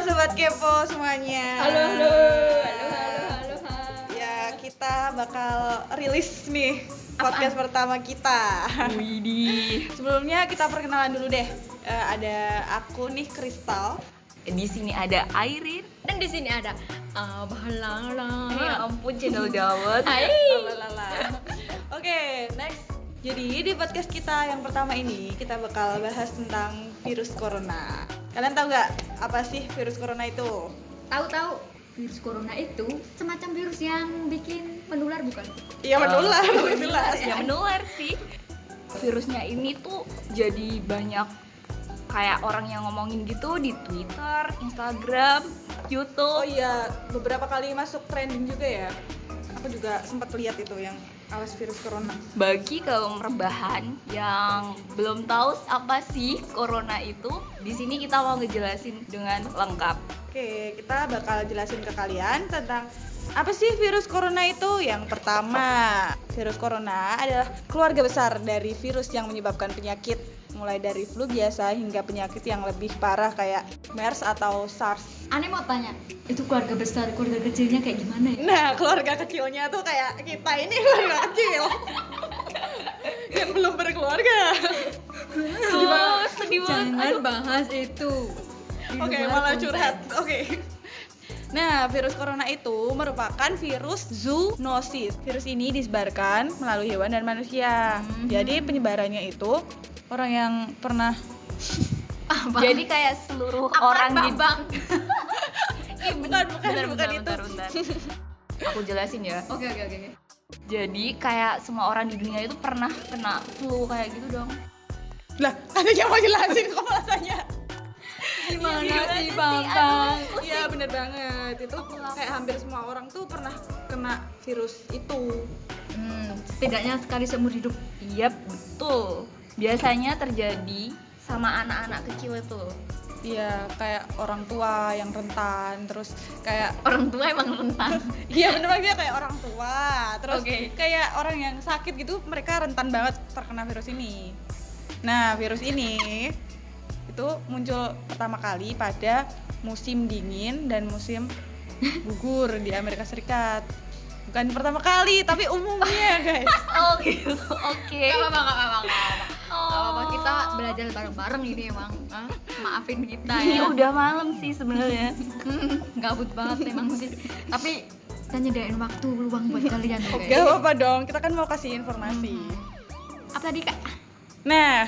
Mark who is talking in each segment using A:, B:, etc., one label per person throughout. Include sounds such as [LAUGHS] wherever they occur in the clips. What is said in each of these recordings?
A: Kopo semuanya.
B: Halo, halo, halo, halo, halo, halo.
A: Ya, kita bakal rilis nih podcast pertama kita. [LAUGHS]
B: Widih.
A: Sebelumnya kita perkenalan dulu deh. Eh, ada aku nih Kristal.
C: Di sini ada Airin.
B: Dan di sini ada eh, Abalala.
C: Ya ampun channel dawet.
B: Hai.
A: Lalalala. Oke, next. Jadi di podcast kita yang pertama ini kita bakal bahas tentang virus corona. Kalian tahu nggak apa sih virus corona itu?
B: Tahu-tahu virus corona itu semacam virus yang bikin menular bukan?
A: Iya
B: [LAUGHS]
A: menular, menular.
C: Ya menular sih. Virusnya ini tuh jadi banyak kayak orang yang ngomongin gitu di Twitter, Instagram,
A: Oh
C: YouTube.
A: iya, beberapa kali masuk trending juga ya. Aku juga sempat lihat itu yang awas virus corona.
C: Bagi kaum rebahan yang belum tahu apa sih corona itu, di sini kita mau ngejelasin dengan lengkap.
A: Oke, kita bakal jelasin ke kalian tentang apa sih virus corona itu? Yang pertama, virus corona adalah keluarga besar dari virus yang menyebabkan penyakit mulai dari flu biasa hingga penyakit yang lebih parah kayak MERS atau SARS.
B: Aneh mau tanya, itu keluarga besar, keluarga kecilnya kayak gimana ya?
A: Nah, keluarga kecilnya tuh kayak kita ini [LAUGHS] keluarga kecil. yang belum berkeluarga.
C: Tuh, sedih banget.
B: Jangan bahas itu.
A: Oke, malah curhat. Oke. [LAUGHS] Nah, virus corona itu merupakan virus zoonosis. Virus ini disebarkan melalui hewan dan manusia. Jadi penyebarannya itu orang yang pernah
C: Jadi kayak seluruh orang di
B: Bang.
C: Ih, ben- [LAUGHS]
A: Bukan, Eh, bukan,
C: bentar,
A: bukan
C: bentar,
A: itu. [LAUGHS]
C: bentar, bentar. Aku jelasin ya.
B: Oke, oke, oke. oke.
C: Jadi kayak semua orang di dunia itu pernah kena flu kayak gitu dong.
A: lah, [LAUGHS] ada yang mau jelasin kok Iya, malah tanya.
B: Gimana sih,
C: sih,
B: Bang?
C: aduh.
B: Bang?
A: Iya, bener banget. Itu kayak hampir semua orang tuh pernah kena virus itu.
B: Hmm, setidaknya sekali seumur hidup.
C: Iya betul. Biasanya terjadi sama anak-anak kecil itu.
A: Iya, kayak orang tua yang rentan, terus kayak
C: Orang tua emang
A: [LAUGHS]
C: rentan.
A: Iya bener banget dia kayak orang tua Terus
C: Oke.
A: kayak orang yang sakit gitu mereka rentan banget terkena virus ini Nah virus ini itu muncul pertama kali pada musim dingin dan musim gugur di Amerika Serikat Bukan pertama kali tapi umumnya guys
C: oh gitu. Oke.
B: Gak apa-apa, gak apa-apa, gak apa-apa.
C: Oh.
B: Gak apa-apa, kita belajar bareng-bareng ini emang. Hah? Maafin kita
C: Ini
B: ya.
C: Iya, udah malam sih sebenarnya.
B: Hmm, gabut banget memang sih. Tapi kita nyediain waktu luang buat kalian [LAUGHS] oke?
A: Gak apa-apa dong kita kan mau kasih informasi
B: Hmm. Apa tadi kak?
A: Nah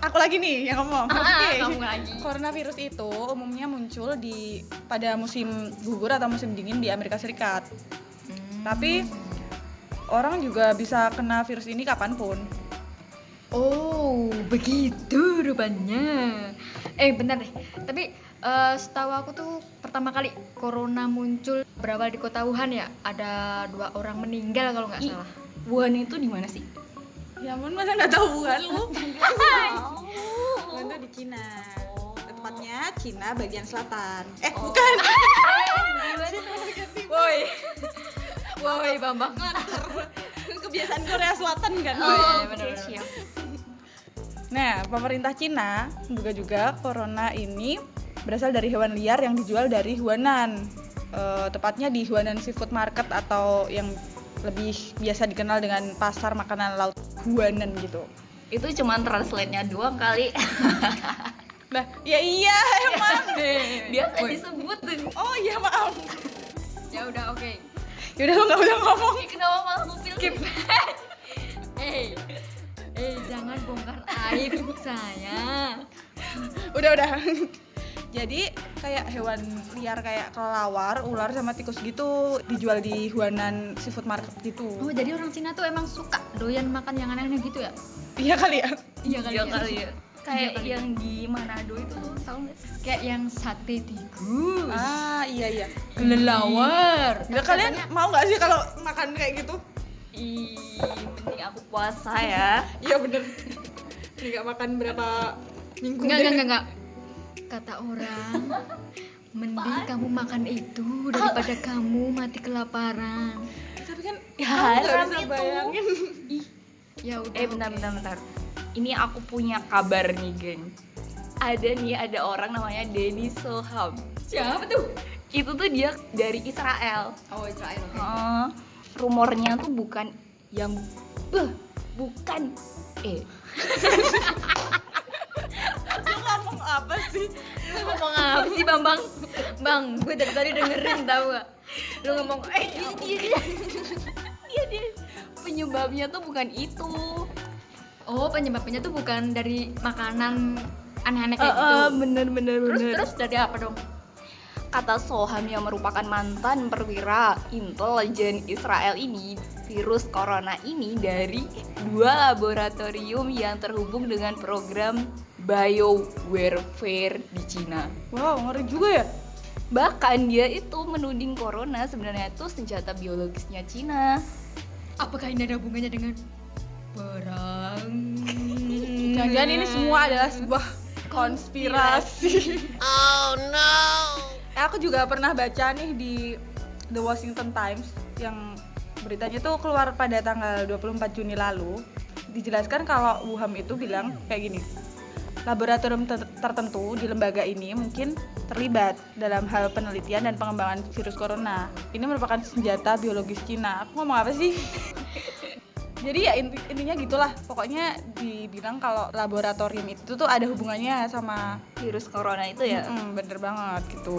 A: aku lagi nih yang ngomong Oke
B: Ah, Kamu lagi.
A: Coronavirus itu umumnya muncul di pada musim gugur atau musim dingin di Amerika Serikat. Tapi orang juga bisa kena virus ini kapanpun.
B: Oh, begitu rupanya. Eh, bentar deh. Tapi eh, setahu aku tuh pertama kali corona muncul berawal di kota Wuhan ya. Ada dua orang meninggal kalau nggak
C: Ih.
B: salah.
C: Wuhan itu di mana sih?
A: Ya ampun masa nggak tahu kan lu?
C: Oh.
A: Wuhan tuh di Cina. Tepatnya Cina bagian selatan. Eh
C: Oh.
A: bukan.
B: Woi.
A: [LAUGHS]
B: Woi, Bambang.
A: Kebiasaan Korea Selatan kan.
B: Oh, iya, iya,
C: oke,
B: benar, benar.
C: siap.
A: Nah pemerintah Cina juga juga corona ini berasal dari hewan liar yang dijual dari Huanan. Eh, tepatnya di Huanan Seafood Market atau yang lebih biasa dikenal dengan pasar makanan laut Huanan gitu.
C: Itu cuman translate-nya doang kali.
A: Nah, ya iya [LAUGHS] emang deh.
C: Biasa disebutin.
A: Oh iya maaf.
B: Ya udah oke.
A: Yaudah lo nggak usah ngomong.
C: Ih, Kenapa malah ngupil [LAUGHS] sih?
B: Eh. Eh, jangan bongkar aib saya.
A: Udah udah. [LAUGHS] Jadi kayak hewan liar kayak kelawar, ular sama tikus gitu dijual di Huanan Seafood Market
B: Oh,
A: gitu.
B: jadi orang Cina tuh emang suka doyan makan yang aneh-aneh gitu ya?
A: Iya kali ya. Iya
B: Iya
C: Iya kali ya. Kayak
B: kali.
C: yang di Manado itu tuh tau nggak? sih?
B: Kayak yang sate tikus,
A: Ah iya iya.
B: kelelawar.
A: Ya, kalian mau nggak sih kalau makan kayak gitu?
C: Ih, mending aku puasa ya.
A: Iya bener. Nggak makan berapa minggu
B: Enggak,
A: deh.
B: enggak, enggak, enggak. Kata orang, mending kamu makan itu daripada kamu mati kelaparan.
A: Tapi kan
C: Ya, Haram
A: aku nggak bisa
C: itu.
A: bayangin.
B: Ya udah.
C: gitu. Eh bentar
B: oke.
C: bentar bentar. Ini aku punya kabar nih, geng. Ada nih ada orang namanya Denny Soham.
B: Siapa tuh?
C: Itu tuh dia dari Israel.
B: Oh, Israel. oke.
C: Heeh. Eh, rumornya tuh bukan yang Beuh, bukan eh
A: Lu ngomong apa sih?
B: Lu ngomong apa sih, Bang Bang? Bang, gue dari tadi dengerin tahu gak? Lu ngomong eh dia dia dia. Iya,
C: dia dia penyebabnya tuh bukan itu.
B: Oh, penyebabnya tuh bukan dari makanan aneh-aneh
C: Eh,
B: kayak
C: eh,
B: gitu.
C: bener bener
B: Terus
C: bener.
B: terus dari apa dong?
C: Kata Soham yang merupakan mantan perwira intelijen Israel ini, virus corona ini dari dua laboratorium yang terhubung dengan program biowarfare di Cina.
A: Wow, ngeri juga ya.
C: Bahkan dia itu menuding corona sebenarnya itu senjata biologisnya Cina.
B: Apakah ini ada hubungannya dengan perang?
A: Hmm. Jangan-jangan ini semua adalah sebuah konspirasi. oh no. Aku juga pernah baca nih di The Washington Times yang beritanya tuh keluar pada tanggal 24 Juni lalu. Dijelaskan kalau Wuhan itu bilang kayak gini. Laboratorium ter- tertentu di lembaga ini mungkin terlibat dalam hal penelitian dan pengembangan virus corona. Ini merupakan senjata biologis Cina. Aku ngomong apa sih? Jadi ya inti- intinya gitulah. Pokoknya dibilang kalau laboratorium itu tuh ada hubungannya sama
C: Virus corona itu
B: Iya.
C: ya
A: Mm, bener banget gitu.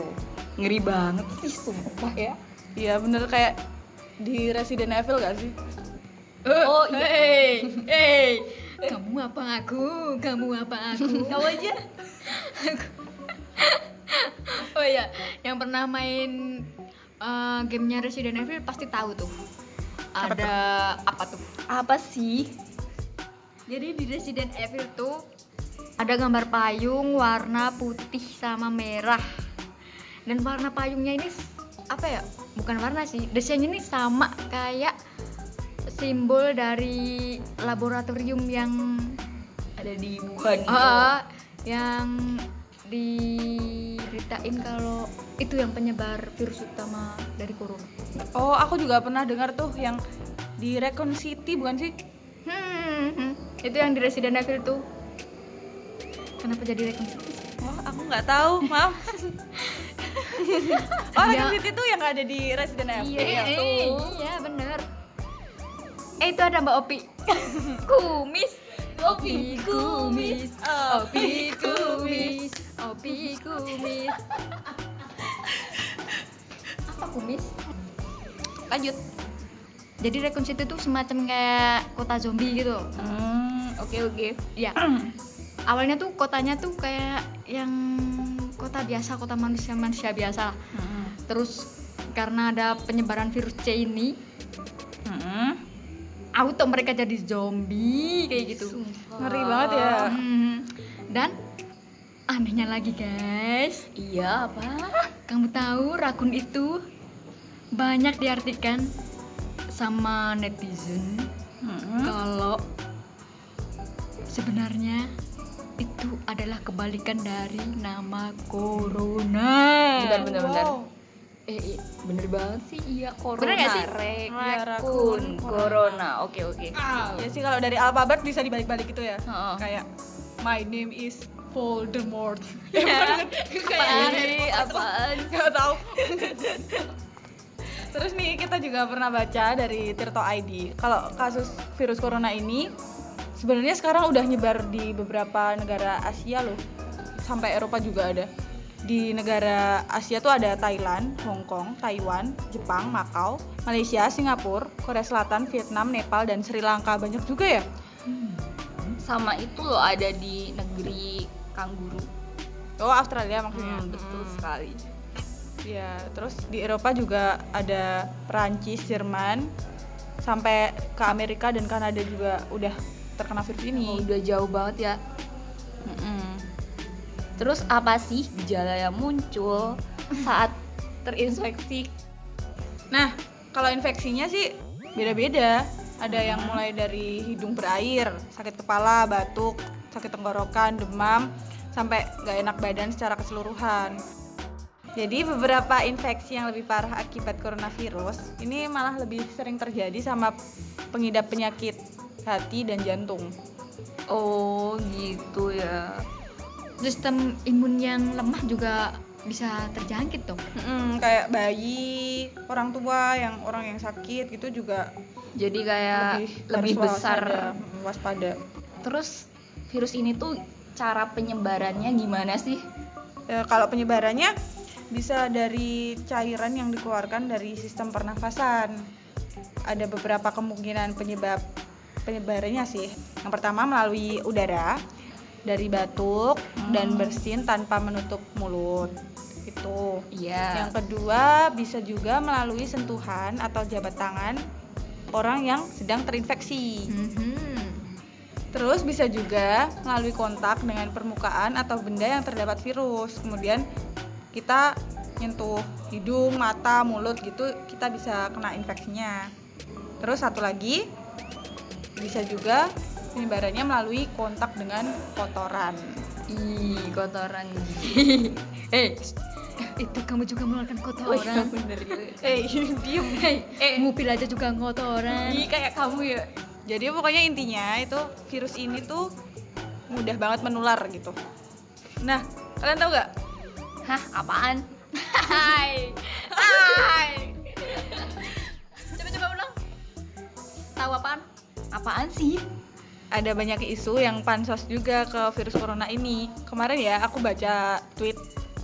C: ngeri banget sih sumpah ya.
A: Iya bener kayak di Resident Evil gak sih?
C: Oh, iya.
B: hey, hey. Kamu apa aku? [LAUGHS] Kamu apa aku?
C: Tahu aja.
B: oh iya, yang pernah main eh, gamenya Resident Evil pasti tahu tuh.
A: Apa
B: Ada apa tuh?
C: Apa sih?
B: Jadi di Resident Evil tuh ada gambar payung warna putih sama merah. Dan warna payungnya ini s- apa ya? Bukan warna sih, desainnya ini sama kayak simbol dari laboratorium yang
C: Ada di Wuhan.
A: gitu.
C: itu.
B: Ah, yang diberitain kalau itu yang penyebar virus utama dari corona.
A: Oh aku juga pernah dengar tuh yang di Recon City bukan sih?
B: Hmm, itu yang di Resident Evil tuh. Kenapa jadi rekonstruksi?
A: Wah aku nggak tahu,
B: [LAUGHS]
A: maaf. oh Recon
B: Iya.
A: City tuh yang ada di Resident Evil
B: Iya,
A: tuh.
B: iya bener. Eh itu ada Mbak Opi. kumis, Opi kumis,
A: Oh.
B: Opi kumis, Opi [LAUGHS] kumis. Apa kumis?
A: Lanjut.
B: Jadi rekonstitusi itu semacam kayak kota zombie gitu.
A: Hmm, oke oke.
B: Iya. Awalnya tuh kotanya tuh kayak yang kota biasa, kota manusia-manusia biasa lah.
A: Hmm.
B: Terus karena ada penyebaran virus C ini,
A: Hmm.
B: auto mereka jadi zombie kayak gitu.
C: Sumpah.
A: Ngeri banget ya.
B: Hmm. Dan anehnya lagi guys,
C: Iya apa?
B: kamu tahu rakun itu banyak diartikan sama netizen
A: Hmm.
B: kalau sebenarnya itu adalah kebalikan dari
A: Nah.
B: nama corona.
C: Bentar, bentar, bentar.
A: Wow.
C: Eh, i- bener banget sih iya corona.
B: Bener nggak sih?
C: Rek,
A: Iya,
C: rekun,
A: rakun,
C: corona. Oke oke.
A: Ya sih kalau dari alfabet bisa dibalik-balik gitu ya.
C: Heeh.
A: Kayak my name is Voldemort. Ya, bukan,
C: Apaan sih? Apaan?
A: Gak tahu. [LAUGHS] Terus nih kita juga pernah baca dari Tirto ID kalau kasus virus corona ini sebenarnya sekarang udah nyebar di beberapa negara Asia loh. Sampai Eropa juga ada. Di negara Asia tuh ada Thailand, Hong Kong, Taiwan, Jepang, Makau, Malaysia, Singapura, Korea Selatan, Vietnam, Nepal dan Sri Lanka. Banyak juga ya?
C: Sama itu loh ada di negeri kanguru.
A: Oh, Australia maksudnya.
C: betul
A: Hmm.
C: sekali.
A: Iya, terus di Eropa juga ada Perancis, Jerman, sampai ke Amerika dan Kanada juga udah terkena virus
C: Oh,
A: ini.
C: udah jauh banget ya.
A: Mm-mm.
C: Terus apa sih gejala yang muncul saat terinfeksi?
A: Nah, kalau infeksinya sih beda-beda. Ada yang mulai dari hidung berair, sakit kepala, batuk, sakit tenggorokan, demam, sampai nggak enak badan secara keseluruhan. Jadi beberapa infeksi yang lebih parah akibat coronavirus ini malah lebih sering terjadi sama pengidap penyakit hati dan jantung.
C: Oh, gitu ya.
B: Sistem imun yang lemah juga bisa terjangkit dong.
A: Mm-mm, kayak bayi, orang tua yang orang yang sakit gitu juga
C: Jadi kayak Ya, lebih,
A: lebih harus
C: besar.
A: waspada, mm, waspada.
C: Terus virus ini tuh cara penyebarannya gimana sih?
A: Ya, kalau penyebarannya bisa dari cairan yang dikeluarkan dari sistem pernafasan. Ada beberapa kemungkinan penyebab penyebarannya sih. Yang pertama melalui udara dari batuk dan bersin tanpa menutup mulut. Itu.
C: Iya.
A: Yang kedua bisa juga melalui sentuhan atau jabat tangan orang yang sedang terinfeksi.
C: Mhm.
A: Terus bisa juga melalui kontak dengan permukaan atau benda yang terdapat virus. Kemudian kita nyentuh hidung, mata, mulut gitu kita bisa kena infeksinya. Terus satu lagi bisa juga penyebarannya melalui kontak dengan kotoran.
C: Ih, [LAUGHS] kotoran.
B: Eh, itu kamu juga mengeluarkan
C: Oh, iya.
B: kotoran.
C: Orang bener ya.
A: Eh, [LAUGHS] diem.
B: Hei, ngupil aja juga ngotoran.
C: Ih, Eh, kayak kamu ya.
A: Jadi pokoknya intinya itu virus ini tuh mudah banget menular gitu. Nah, kalian tahu nggak?
C: Hah, apaan? [LAUGHS] Hai. Hai. Coba-coba ulang. Tahu apaan? Apaan sih?
A: Ada banyak isu yang pansos juga ke virus corona ini. Kemarin ya aku baca tweet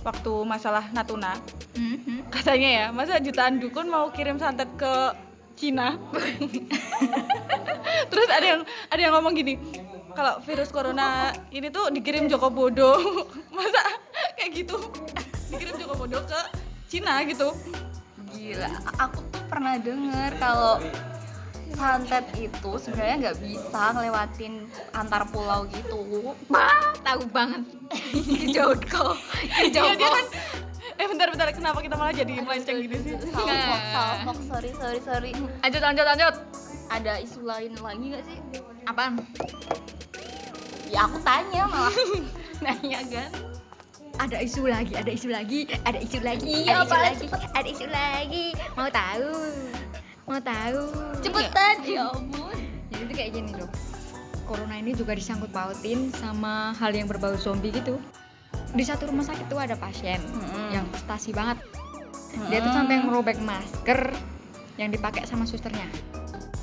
A: waktu masalah Natuna. [LAUGHS]
C: Mhm.
A: Katanya ya, masa jutaan dukun mau kirim santet ke Cina? [LAUGHS] Terus ada yang ada yang ngomong gini, kalau virus corona ini tuh dikirim Joko Bodo. [LAUGHS] masa kayak gitu? [LAUGHS] Dikirim Joko Bodo ke Cina gitu.
C: Gila, aku tuh pernah denger kalau santet itu sebenarnya nggak bisa ngelewatin antar pulau gitu. Bah,
B: Tahu banget.
C: [LAUGHS] jauh kok. Jauh
A: Iya dia kan Eh bentar-bentar kenapa kita malah jadi melenceng Iya, gini sih?
C: Salmok, salmok, sorry, sorry, sorry.
B: Lanjut, lanjut, lanjut.
C: Ada isu lain lagi gak sih?
B: Apaan?
C: Ya aku tanya malah.
A: Nah, iya
C: Nanya kan?
B: Ada isu lagi, ada isu lagi, ada isu lagi,
C: Ada isu
B: apa
C: lagi.
B: lagi? Ada isu lagi. Mau tahu? Mau tahu?
C: Cepetan ya ampun.
B: Jadi itu kayak gini loh. Corona ini juga disangkut pautin sama hal yang berbau zombie gitu. Di satu rumah sakit tuh ada pasien
A: Mm-mm.
B: yang frustasi banget. Dia tuh sampai ngerobek masker yang dipakai sama susternya.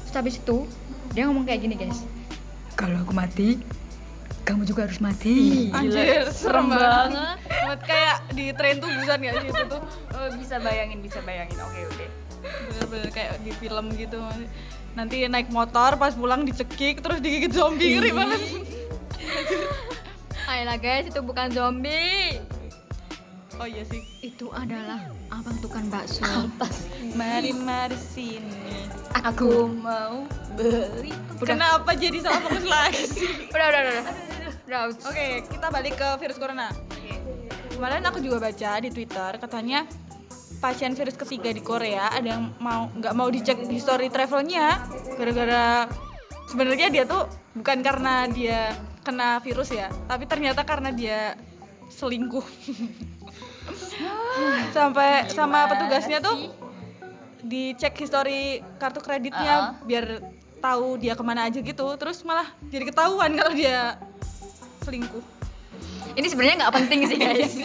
B: Terus habis itu dia ngomong kayak gini guys. Kalau aku mati, kamu juga harus mati.
A: Anjir, serem banget. Buat kayak di tren tuh busan gak sih itu tuh
C: Oh, bisa bayangin, bisa bayangin. Oke, oke.
A: bener-bener kayak di film gitu. Nanti naik motor pas pulang dicekik terus digigit zombie ngeri banget.
B: Ayolah guys, itu bukan zombie.
A: Oh iya sih.
B: Itu adalah abang tukang bakso.
A: Mari mari sini.
C: Aku mau beli.
B: Udah.
A: Kenapa jadi salah fokus lagi sih?
B: Udah, udah, udah. Udah.
A: Oke, kita balik ke virus corona. Kemarin aku juga baca di Twitter katanya pasien virus ketiga di Korea ada yang mau nggak mau dicek history travelnya gara-gara sebenarnya dia tuh bukan karena dia kena virus ya, tapi ternyata karena dia selingkuh. [LAUGHS] Sampai sama petugasnya tuh dicek history kartu kreditnya biar tahu dia kemana aja gitu terus malah jadi ketahuan kalau dia selingkuh
B: Ini sebenarnya nggak penting sih guys.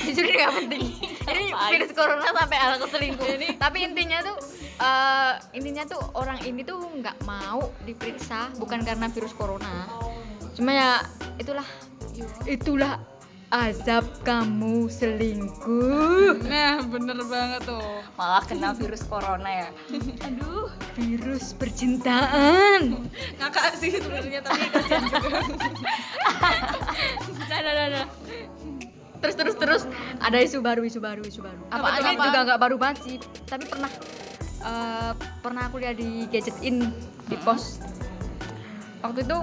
B: Jujur ini nggak penting. Ini virus corona sampai ala keselingkuh. Tapi intinya tuh, eh, intinya tuh orang ini tuh nggak mau diperiksa bukan karena virus corona. Cuma ya itulah, itulah azab kamu selingkuh.
A: nah bener banget tuh
C: Malah kena virus corona ya. Aduh.
B: Virus percintaan.
A: ngakak sih sebenarnya tapi kasihan juga
B: Nah, nah, nah, nah. Terus terus terus ada isu baru isu baru isu baru.
C: Apaan,
B: Tapi
C: apaan?
B: juga nggak baru banget sih. Tapi pernah eh, pernah aku lihat di gadgetin di pos. Waktu itu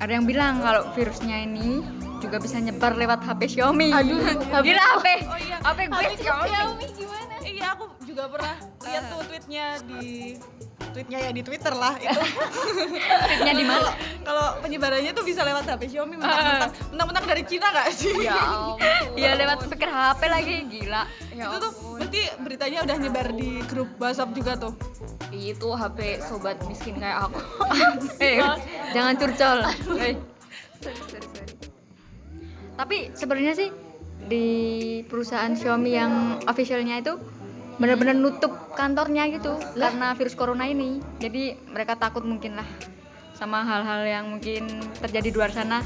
B: ada yang bilang kalau virusnya ini juga bisa nyebar lewat HP Xiaomi. Aduh, [LAUGHS] gila HP.
A: oh iya
B: HP gue
A: Tapi
B: Xiaomi.
C: gimana?
A: Eh, iya aku juga pernah lihat tuh tweetnya di tweetnya ya di Twitter lah itu [LAUGHS]
B: Nya di mana?
A: kalau penyebarannya tuh bisa lewat HP Xiaomi mentang-mentang mentang-mentang dari Cina nggak sih
C: Ya ampun.
B: Iya lewat speaker HP lagi gila. Ya
A: itu tuh
B: ampun.
A: berarti beritanya udah nyebar di grup WhatsApp juga tuh
C: Itu HP sobat miskin kayak aku.
B: Eh, jangan curcol. Eh. Tapi sebenarnya sih di perusahaan Xiaomi yang officialnya itu benar-benar nutup kantornya gitu karena virus corona ini. Jadi mereka takut mungkin lah sama hal-hal yang mungkin terjadi di luar sana.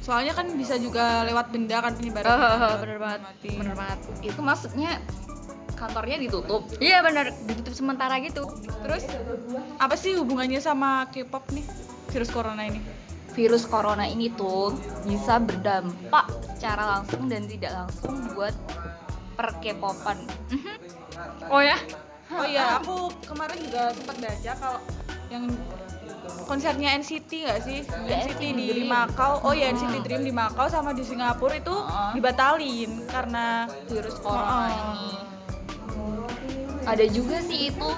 A: Soalnya kan bisa juga lewat benda kan penyebaran.
B: Oh, [LAUGHS] bener banget.
A: Mati.
B: Bener banget.
C: Itu maksudnya kantornya ditutup.
B: Iya bener, ditutup sementara gitu.
A: Terus apa sih hubungannya sama K-pop nih? Virus corona ini.
C: Virus corona ini tuh bisa berdampak secara langsung dan tidak langsung buat perkepopan.
B: Oh ya?
A: Oh iya, aku kemarin juga sempat baca kalau yang konsernya NCT nggak sih?
C: Iya,
A: NCT
C: NCT
A: di
C: Dream.
A: Makau. Oh iya, NCT Dream di Makau sama di Singapura itu
C: Heeh.
A: dibatalin karena [LAUGHS]
C: Virus corona
A: Heeh.
C: ini. Ada juga sih itu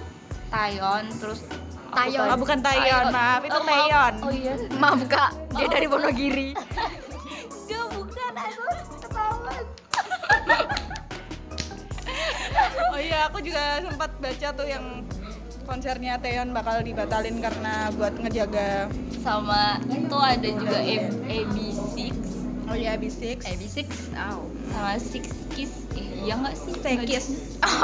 C: Tayon terus aku
B: Taeyeon.
A: Oh,
C: tadi-
A: bukan Taeyeon, maaf, itu
C: Oh, maaf.
A: Taeyeon.
C: Oh iya.
B: Maaf kak, dia dari Wonogiri.
C: Enggak, bukan aku ketahuan.
A: Oh iya, aku juga sempat baca tuh yang konsernya Taeyeon bakal dibatalin karena buat ngejaga
C: Sama itu ada juga A- AB6
A: Oh iya, B6.
B: AB6. Oh.
C: sama Six Kiss. Eh, iya enggak sih?
A: Sekis.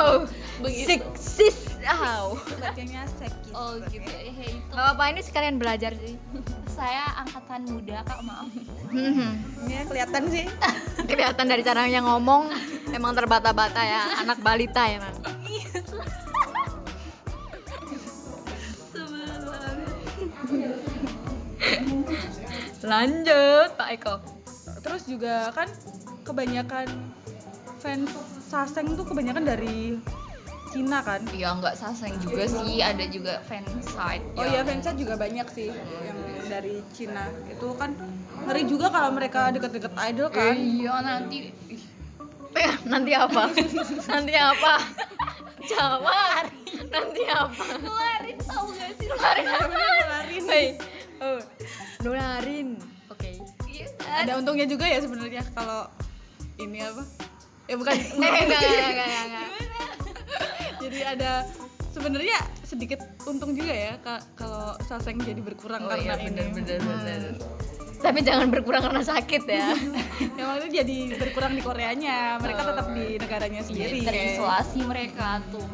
B: Oh.
C: Begitu.
B: Six sis. Oh.
A: Bacanya sekis.
C: Oh gitu. Eh, itu.
B: Gak apa ini sekalian belajar sih. [LAUGHS]
C: Saya angkatan muda, Kak, maaf.
A: Ya, kelihatan sih.
B: Kelihatan dari caranya ngomong emang terbata-bata ya, anak balita ya, Mas. Lanjut, Pak Eko.
A: Terus juga kan kebanyakan fans Saseng tuh kebanyakan dari Cina kan?
C: Iya, enggak saseng juga sih. Ada juga fan site.
A: Oh iya, fansnya juga banyak sih yang dari Cina. Itu kan ngeri juga kalau mereka deket-deket idol
C: Eh,
A: kan.
C: Iya, nanti Ih,
B: Eh, nanti apa? nanti apa? Jawab. Nanti apa?
C: keluarin tahu gak sih?
A: Nularin.
B: Oh. Nularin. Oke.
C: Iya kan?
A: Ada untungnya juga ya sebenarnya kalau ini apa? Ya
C: [LAUGHS]
A: bukan.
B: Eh, enggak, enggak, enggak, enggak, enggak.
A: Jadi ada sebenarnya sedikit untung juga ya ka- kalau Saseng jadi berkurang
C: Oh iya,
A: karena ini. [LAUGHS] Hmm.
C: bener-bener bener.
B: Tapi jangan berkurang karena sakit ya.
A: Yang maksudnya jadi berkurang di Koreanya, mereka
C: Oh.
A: tetap di
C: Iya,
A: negaranya sendiri.
C: Terisolasi mereka tuh.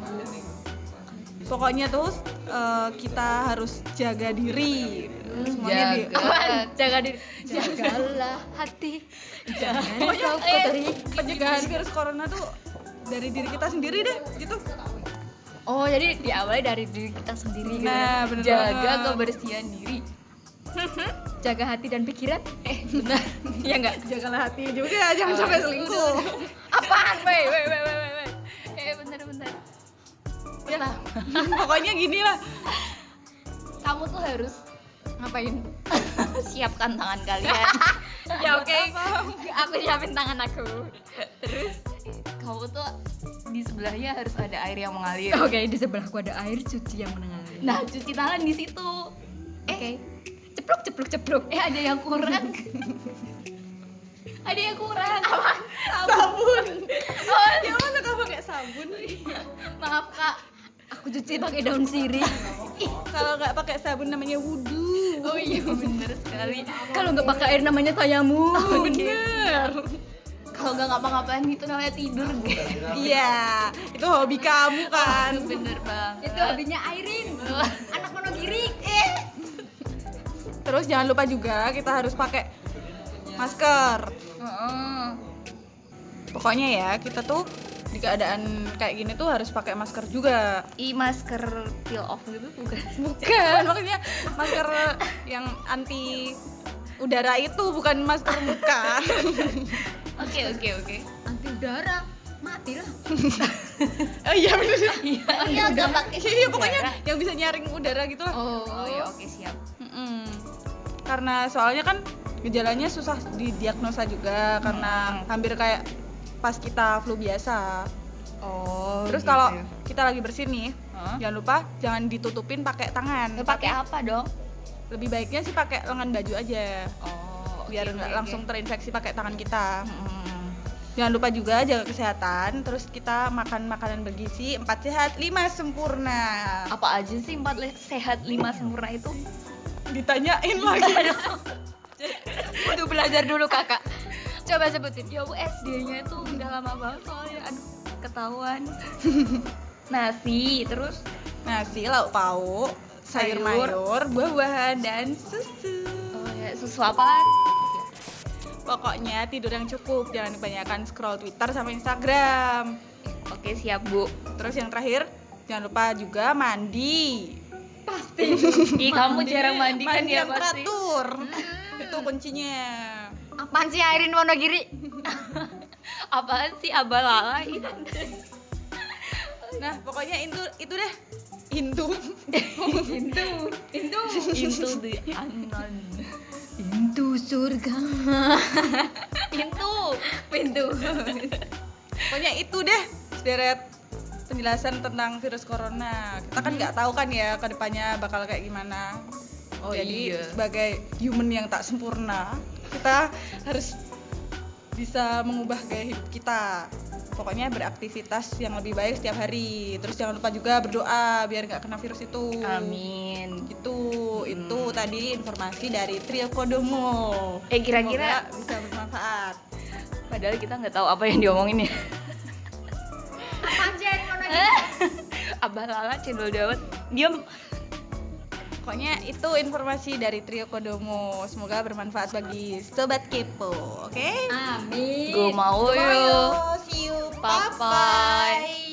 A: Pokoknya tuh eh, kita harus jaga diri. Semuanya di
C: Jaga.
B: Apaan? Jaga diri. Jagalah hati. Jangan kau kotori.
A: [LAUGHS] pencegahan virus corona tuh dari diri kita sendiri deh, gitu.
B: Oh, jadi diawali dari diri kita sendiri gitu. ya.
A: Nah, bener
C: Jaga
A: banget.
C: kebersihan diri.
B: Jaga hati dan pikiran. Eh, benar. Iya Oh. enggak?
A: Jagalah hati juga, jangan sampai selingkuh. [LAUGHS]
B: Apaan, wey, wey, wey, wey, wey.
C: Eh, bentar-bentar.
A: Ya, pokoknya gini lah.
C: Kamu tuh harus
A: [LAUGHS]
B: Ngapain?
C: siapkan tangan kalian.
B: ya oke. Aku siapin tangan aku.
C: Kamu tuh di sebelahnya harus ada air yang
A: [LAUGHS]
C: mengalir.
B: Ya, Oke, di sebelahku ada air cuci yang menengahi.
C: Nah, cuci tangan di situ.
A: Eh,
B: oke. Ceplok, ceplok, ceplok.
C: Eh, ada yang kurang. ada yang kurang.
A: Sabun. ya masa kamu pakai sabun?
B: Maaf, Kak. Aku cuci pakai daun sirih.
A: Kalau nggak pakai sabun namanya wudhu.
C: Oh iya, bener sekali.
B: Kalau nggak pakai air namanya tayamu.
A: [LAUGHS] Bener.
C: Kalau nggak ngapa-ngapain gitu namanya tidur, guys.
A: Iya, itu hobi kamu kan.
C: Bener banget.
B: Itu hobinya Airin. Anak monogiri. Eh.
A: Terus jangan lupa juga kita harus pakai masker.
C: Heeh.
A: Pokoknya ya, kita tuh di keadaan kayak gini tuh harus pakai masker juga.
C: I masker peel off gitu bukan?
A: Bukan, [LAUGHS] maksudnya masker yang anti udara itu bukan masker muka.
C: Oke, oke, oke.
B: Anti udara. Matilah.
A: [LAUGHS] oh iya bener.
C: Iya, nggak pakai.
A: [LAUGHS] Iya, pokoknya yang bisa nyaring udara gitu lah.
B: Oh.
C: Oh iya, oke siap.
A: Mm-mm. Karena soalnya kan gejalanya susah didiagnosa juga karena hampir kayak pas kita flu biasa.
C: Oh.
A: Terus kalau kita lagi bersin nih, jangan lupa jangan ditutupin pakai tangan.
C: pakai apa dong?
A: Lebih baiknya sih pakai lengan baju aja,
C: Oh,
A: biar nggak langsung terinfeksi pakai tangan kita.
C: Hmm.
A: Jangan lupa juga jaga kesehatan, terus kita makan makanan bergizi 4 sehat 5 sempurna.
C: Apa aja sih empat le- sehat lima sempurna itu?
A: [LAUGHS] Ditanyain lagi.
B: Butuh belajar dulu kakak. Coba sebutin.
C: Ya bu SD-nya itu udah lama banget soalnya aduh ketahuan. [LAUGHS] Nasi, terus
A: Nasi, lauk pauk, sayur
C: Sayur.
A: mayur, buah-buahan dan susu.
C: oh ya susu apaan?
A: Pokoknya tidur yang cukup, jangan kebanyakan scroll Twitter sama Instagram.
C: Oke siap bu.
A: Terus yang terakhir, jangan lupa juga mandi.
C: [LAUGHS] Ih kamu jarang mandi kan ya
A: yang
C: pasti.
A: teratur. Hmm, Itu kuncinya.
B: Apaan sih Airin Wonogiri?
C: Apaan sih abalalai?
A: Nah, pokoknya itu itu deh. Intu.
C: [LAUGHS]
B: Itu
C: Into the unknown.
B: pintu surga.
C: Into.
B: Pintu.
A: Pokoknya itu deh, sederet penjelasan tentang virus corona. Kita kan nggak tahu kan ya ke depannya bakal kayak gimana.
C: Oh,
A: Jadi
C: iya.
A: sebagai human yang tak sempurna, kita harus bisa mengubah gaya hidup kita. Pokoknya beraktivitas yang lebih baik setiap hari. Terus jangan lupa juga berdoa biar nggak kena virus itu.
C: Amin.
A: Itu itu tadi informasi dari Trio Kodomo.
C: Eh kira-kira
A: Semoga bisa bermanfaat.
C: padahal kita nggak tahu apa yang diomongin ya.
B: Apaan sih Airin Wonogiri?
C: [LAUGHS] Abalala cendol dawet. Diam.
A: Pokoknya itu informasi dari Trio Kodomo. Semoga bermanfaat bagi sobat kepo, oke?
B: Amin.
C: Gue mau yuk.
A: See you.
C: Bye-bye.
A: Bye-bye.